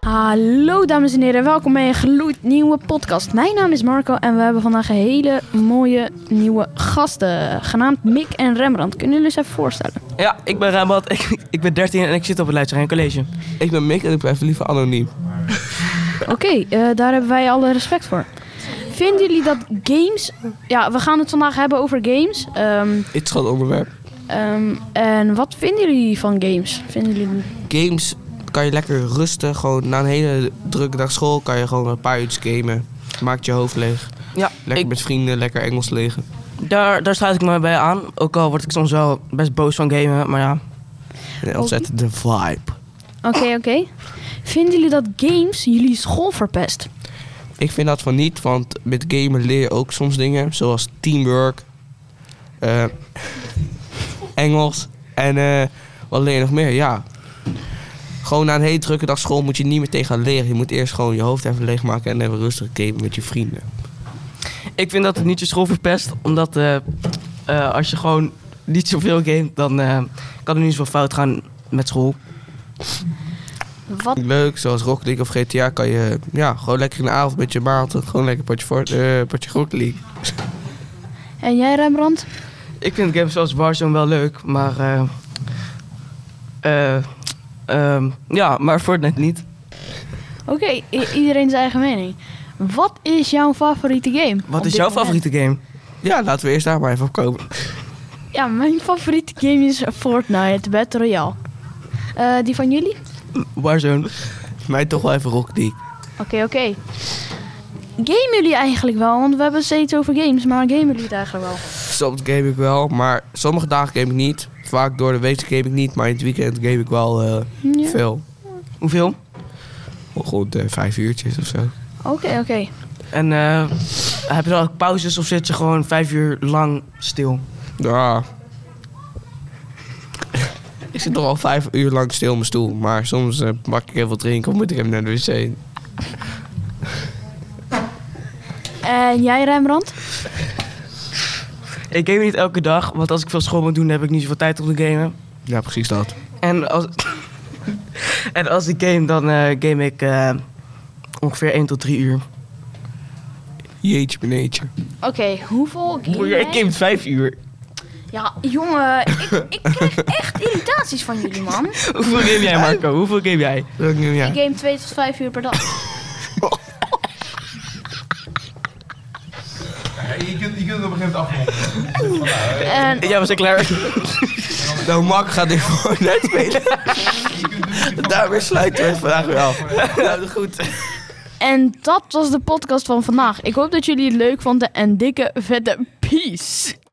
Hallo dames en heren, welkom bij een gloednieuwe podcast. Mijn naam is Marco en we hebben vandaag hele mooie nieuwe gasten. Genaamd Mick en Rembrandt. Kunnen jullie eens even voorstellen? Ja, ik ben Rembrandt, ik, ik ben 13 en ik zit op het Leidse Rijn College. Ik ben Mick en ik blijf liever anoniem. Oké, eh, daar hebben wij alle respect voor. Vinden jullie dat games... Ja, we gaan het vandaag hebben over games. Ehm, Iets van onderwerp. ehm, en wat vinden jullie van games? Vinden jullie... Games kan je lekker rusten. Gewoon na een hele drukke dag school kan je gewoon een paar uurtjes gamen. Maakt je hoofd leeg. Ja, Lekker ik, met vrienden, lekker Engels legen. daar, daar sluit ik me bij aan. Ook al word ik soms wel best boos van gamen, maar ja. En ontzettend de vibe. Oké, oké. Vinden jullie dat games jullie school verpest? Ik vind dat van niet, want met gamen leer je ook soms dingen. Zoals teamwork, eh, Engels en eh, wat leer je nog meer? Ja. Gewoon na een hele drukke dag school moet je niet meer tegen gaan leren. Je moet eerst gewoon je hoofd even leegmaken en even rustig gamen met je vrienden. Ik vind dat het niet je school verpest, omdat eh, eh, als je gewoon niet zoveel gamet, dan eh, kan er niet zoveel fout gaan met school. Wat, leuk, zoals Rocket League of GTA kan je ja, gewoon lekker in de avond met je maat gewoon lekker potje, Fort- eh, potje Rocket League. en jij Rembrandt? Ik vind games zoals Warzone wel leuk, maar... eh, eh, ehm, ja, maar Fortnite niet. Oké, i- iedereen zijn eigen mening. Wat is jouw favoriete game? Wat op is dit jouw moment? favoriete game? Ja, laten we eerst daar maar even op komen. Ja, mijn favoriete game is Fortnite Battle Royale. Eh, die van jullie? Warzone. Mij toch wel even Rocket League. Oké, oké. Gamen jullie eigenlijk wel? Want we hebben het steeds over games, maar gamen jullie het eigenlijk wel? Soms game ik wel, maar sommige dagen game ik niet. Vaak door de week game ik niet, maar in het weekend game ik wel eh, Ja. veel. Hoeveel? Rond eh, vijf uurtjes of zo. Oké, oké. En eh, heb je dan ook pauzes of zit je gewoon vijf uur lang stil? Ja. ik zit toch al vijf uur lang stil op mijn stoel, maar soms eh, pak ik even wat drinken of moet ik even naar de wc. En jij Rembrandt? Ik game niet elke dag, want als ik veel school moet doen, heb ik niet zoveel tijd om te gamen. Ja, precies dat. En als, en als ik game, dan eh, game ik eh, ongeveer 1 tot 3 uur. Jeetje beneetje. Oké, hoeveel game game 5 uur. Ja, jongen, ik, ik krijg echt irritaties van jullie, man. Hoeveel game jij, Marco? Hoeveel game jij? Dat ik nu, ja. Ik game 2 tot 5 uur per dag. Je kunt, je kunt het op een gegeven moment afronden. En Ja, was ik klaar. Nou, Mark gaat dit voor net spelen. Daarmee sluiten we het vandaag weer af. Nou, goed. En dat was de podcast van vandaag. Ik hoop dat jullie het leuk vonden en dikke vette peace.